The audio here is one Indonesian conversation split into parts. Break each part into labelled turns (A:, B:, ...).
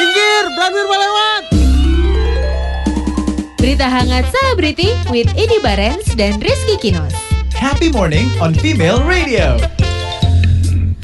A: Danwir melewat.
B: Berita hangat selebriti with Edi Barens dan Rizky Kinos.
C: Happy Morning on Female Radio.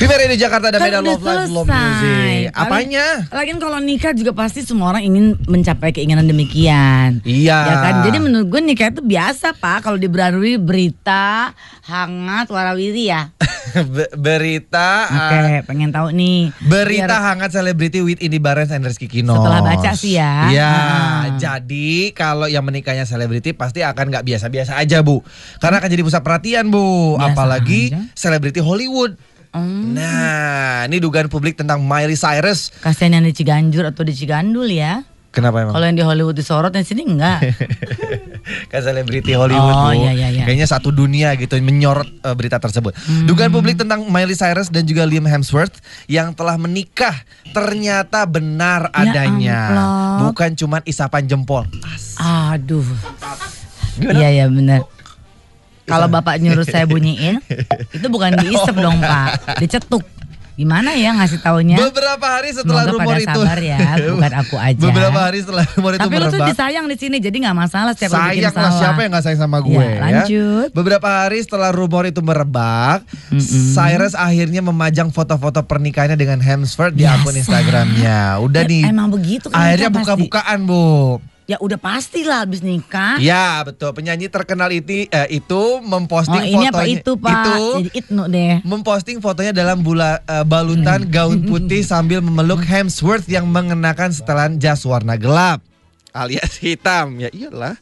D: Viva Radio Jakarta dan
E: Kan
D: Medan
E: udah
D: Love Life Love
E: selesai.
D: Music.
E: Paling-
D: Apanya?
E: Lagian kalau nikah juga pasti semua orang ingin mencapai keinginan demikian.
D: Iya.
E: Ya kan? Jadi menurut gue nikah itu biasa pak kalau diberarui berita hangat warawiri ya.
D: Be- berita
E: Oke,
D: uh,
E: pengen tahu nih.
D: Berita
E: Biar-
D: hangat selebriti with Indi Barens and Rizky Kinos.
E: Setelah baca sih ya.
D: Iya.
E: Ah.
D: Jadi kalau yang menikahnya selebriti pasti akan nggak biasa-biasa aja bu, karena akan jadi pusat perhatian bu,
E: Biasa
D: apalagi
E: aja.
D: selebriti Hollywood.
E: Hmm,
D: Nah, ini dugaan publik tentang Miley Cyrus.
E: kasihan yang di Ciganjur atau di Cigandul ya.
D: Kenapa emang?
E: Kalau yang di Hollywood disorot yang sini enggak.
D: kan selebriti Hollywood
E: Oh,
D: Bu.
E: iya, iya, Hmm. iya.
D: kayaknya satu dunia gitu menyorot eh, berita tersebut. Dugaan publik tentang Miley Cyrus dan juga Liam Hemsworth yang telah menikah ternyata benar
E: Ya
D: adanya,
E: amplop.
D: bukan cuman isapan jempol.
E: Aduh. Iya iya benar. Kalau bapak nyuruh saya bunyiin, itu bukan diisep dong pak, dicetuk. Gimana ya ngasih taunya?
D: Beberapa hari setelah
E: Semoga
D: rumor
E: pada
D: itu,
E: sabar ya, bukan aku aja.
D: Beberapa hari setelah rumor itu
E: Tapi lu tuh
D: merebak,
E: disayang di sini, jadi nggak masalah setiap lu bikin
D: Sayang lah
E: salah.
D: siapa yang gak sayang sama gue
E: Ya, lanjut.
D: Beberapa hari setelah rumor itu merebak Cyrus akhirnya memajang foto-foto pernikahannya dengan Hemsworth Di akun
E: Biasa.
D: Instagramnya Udah
E: Ya,
D: nih
E: emang begitu kan
D: Akhirnya
E: nikah pasti.
D: buka-bukaan bu
E: Ya udah pastilah abis nikah.
D: Ya betul penyanyi terkenal itu eh, itu
E: oh
D: memposting
E: ini
D: fotonya
E: apa itu pak? Jadi itnu deh.
D: memposting fotonya dalam bula, eh, balutan gaun putih sambil memeluk Hemsworth yang mengenakan setelan jas warna gelap alias hitam ya iyalah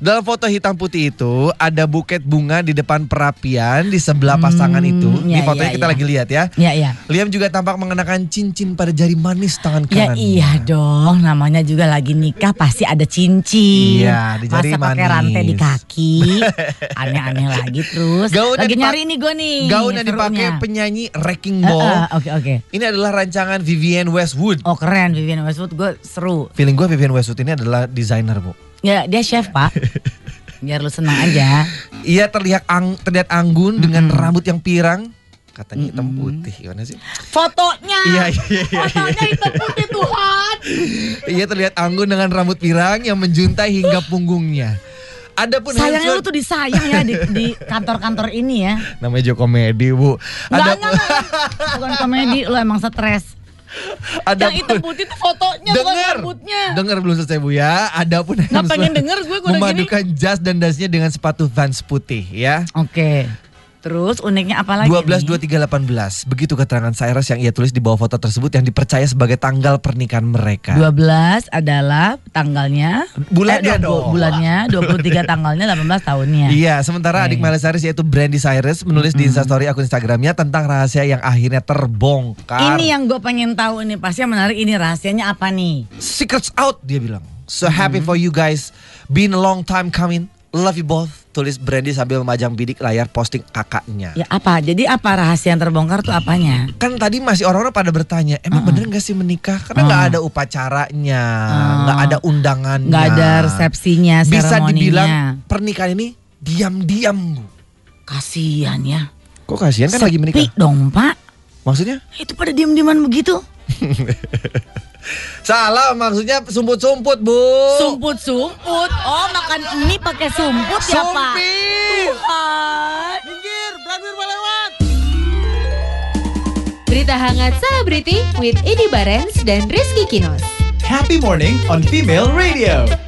D: dalam foto hitam putih itu ada buket bunga di depan perapian di sebelah pasangan itu di
E: ya,
D: fotonya
E: ya,
D: kita
E: ya.
D: lagi lihat ya
E: Ya ya.
D: Liam juga tampak mengenakan cincin pada jari manis tangan kanan
E: Ya iya dong, namanya juga lagi nikah pasti ada cincin.
D: Iya, di jari
E: Masa pakai
D: manis.
E: rantai di kaki. Aneh-aneh lagi terus.
D: Gaun yang
E: lagi
D: dipak-
E: nyari nih gue nih.
D: gaun yang
E: serunya.
D: dipakai penyanyi Wrecking
E: Eh, eh,
D: Ball
E: Oke oke.
D: ini adalah rancangan Vivienne Westwood
E: Oh keren Vivian Westwood gue seru.
D: feeling gue Vivienne Westwood ini adalah desainer bu
E: Ya dia chef pak. Biar lu senang
D: Ia
E: aja.
D: Iya, terlihat ang, terlihat anggun dengan rambut yang pirang. Katanya hitam putih, gimana sih?
E: Fotonya.
D: Iya, iya, iya,
E: Fotonya hitam putih Tuhan.
D: Ia Iya, terlihat anggun dengan rambut pirang yang menjuntai hingga punggungnya. Adapun
E: Sayangnya lu
D: Hemsworth-
E: tuh disayang ya di, di kantor-kantor ini ya.
D: namanya Joko Medi, Bu.
E: Enggak, enggak, enggak. Bukan komedi, lu emang stres.
D: ada
E: Yang hitam putih tuh fotonya bukan
D: Dengar,
E: rambutnya.
D: dengar belum selesai bu ya. Adapun Hemsworth
E: pengen denger gue, gue udah
D: memadukan jas dan dasnya dengan sepatu Vans putih ya.
E: Oke. Terus uniknya apa lagi?
D: 12
E: nih?
D: 23 18 begitu keterangan Cyrus yang ia tulis di bawah foto tersebut yang dipercaya sebagai tanggal pernikahan mereka.
E: 12 adalah tanggalnya
D: Bulannya
E: eh, dua-
D: dong.
E: Bulannya 23 tanggalnya 18 tahunnya
D: Iya, sementara adik Miley Cyrus yaitu Brandy Cyrus menulis
E: Mm-hmm.
D: di instastory akun Instagramnya tentang rahasia yang akhirnya terbongkar.
E: Ini ya. yang gue pengen tahu nih Pasti yang menarik ini rahasianya apa nih
D: secrets out dia bilang. So
E: Mm-hmm.
D: happy for you guys, been a long time coming, love you both. Tulis Brandy sambil memajang bidik layar posting kakaknya.
E: Ya apa jadi apa rahasia yang terbongkar tuh apanya
D: Kan tadi masih orang-orang pada bertanya, emang bener gak sih menikah? Karena nggak ada upacaranya, nggak ada undangannya,
E: Mm. Oh. Nggak ada resepsinya
D: Nah, Bisa
E: seremoninya.
D: dibilang pernikahan ini diam-diam. Bu.
E: Kasian ya
D: Kok kasihan kan lagi menikah?
E: Sepi dong pak
D: Maksudnya?
E: Itu pada diem-dieman begitu
D: Salah maksudnya sumput-sumput bu.
E: Sumput-sumput Oh makan mie pakai sumput ya pak
D: Sumpit.
E: Tuhan.
A: Minggir, Danwir melewat.
B: Berita hangat selebriti with Edi Barens dan Rizky Kinos.
C: Happy Morning on Female Radio.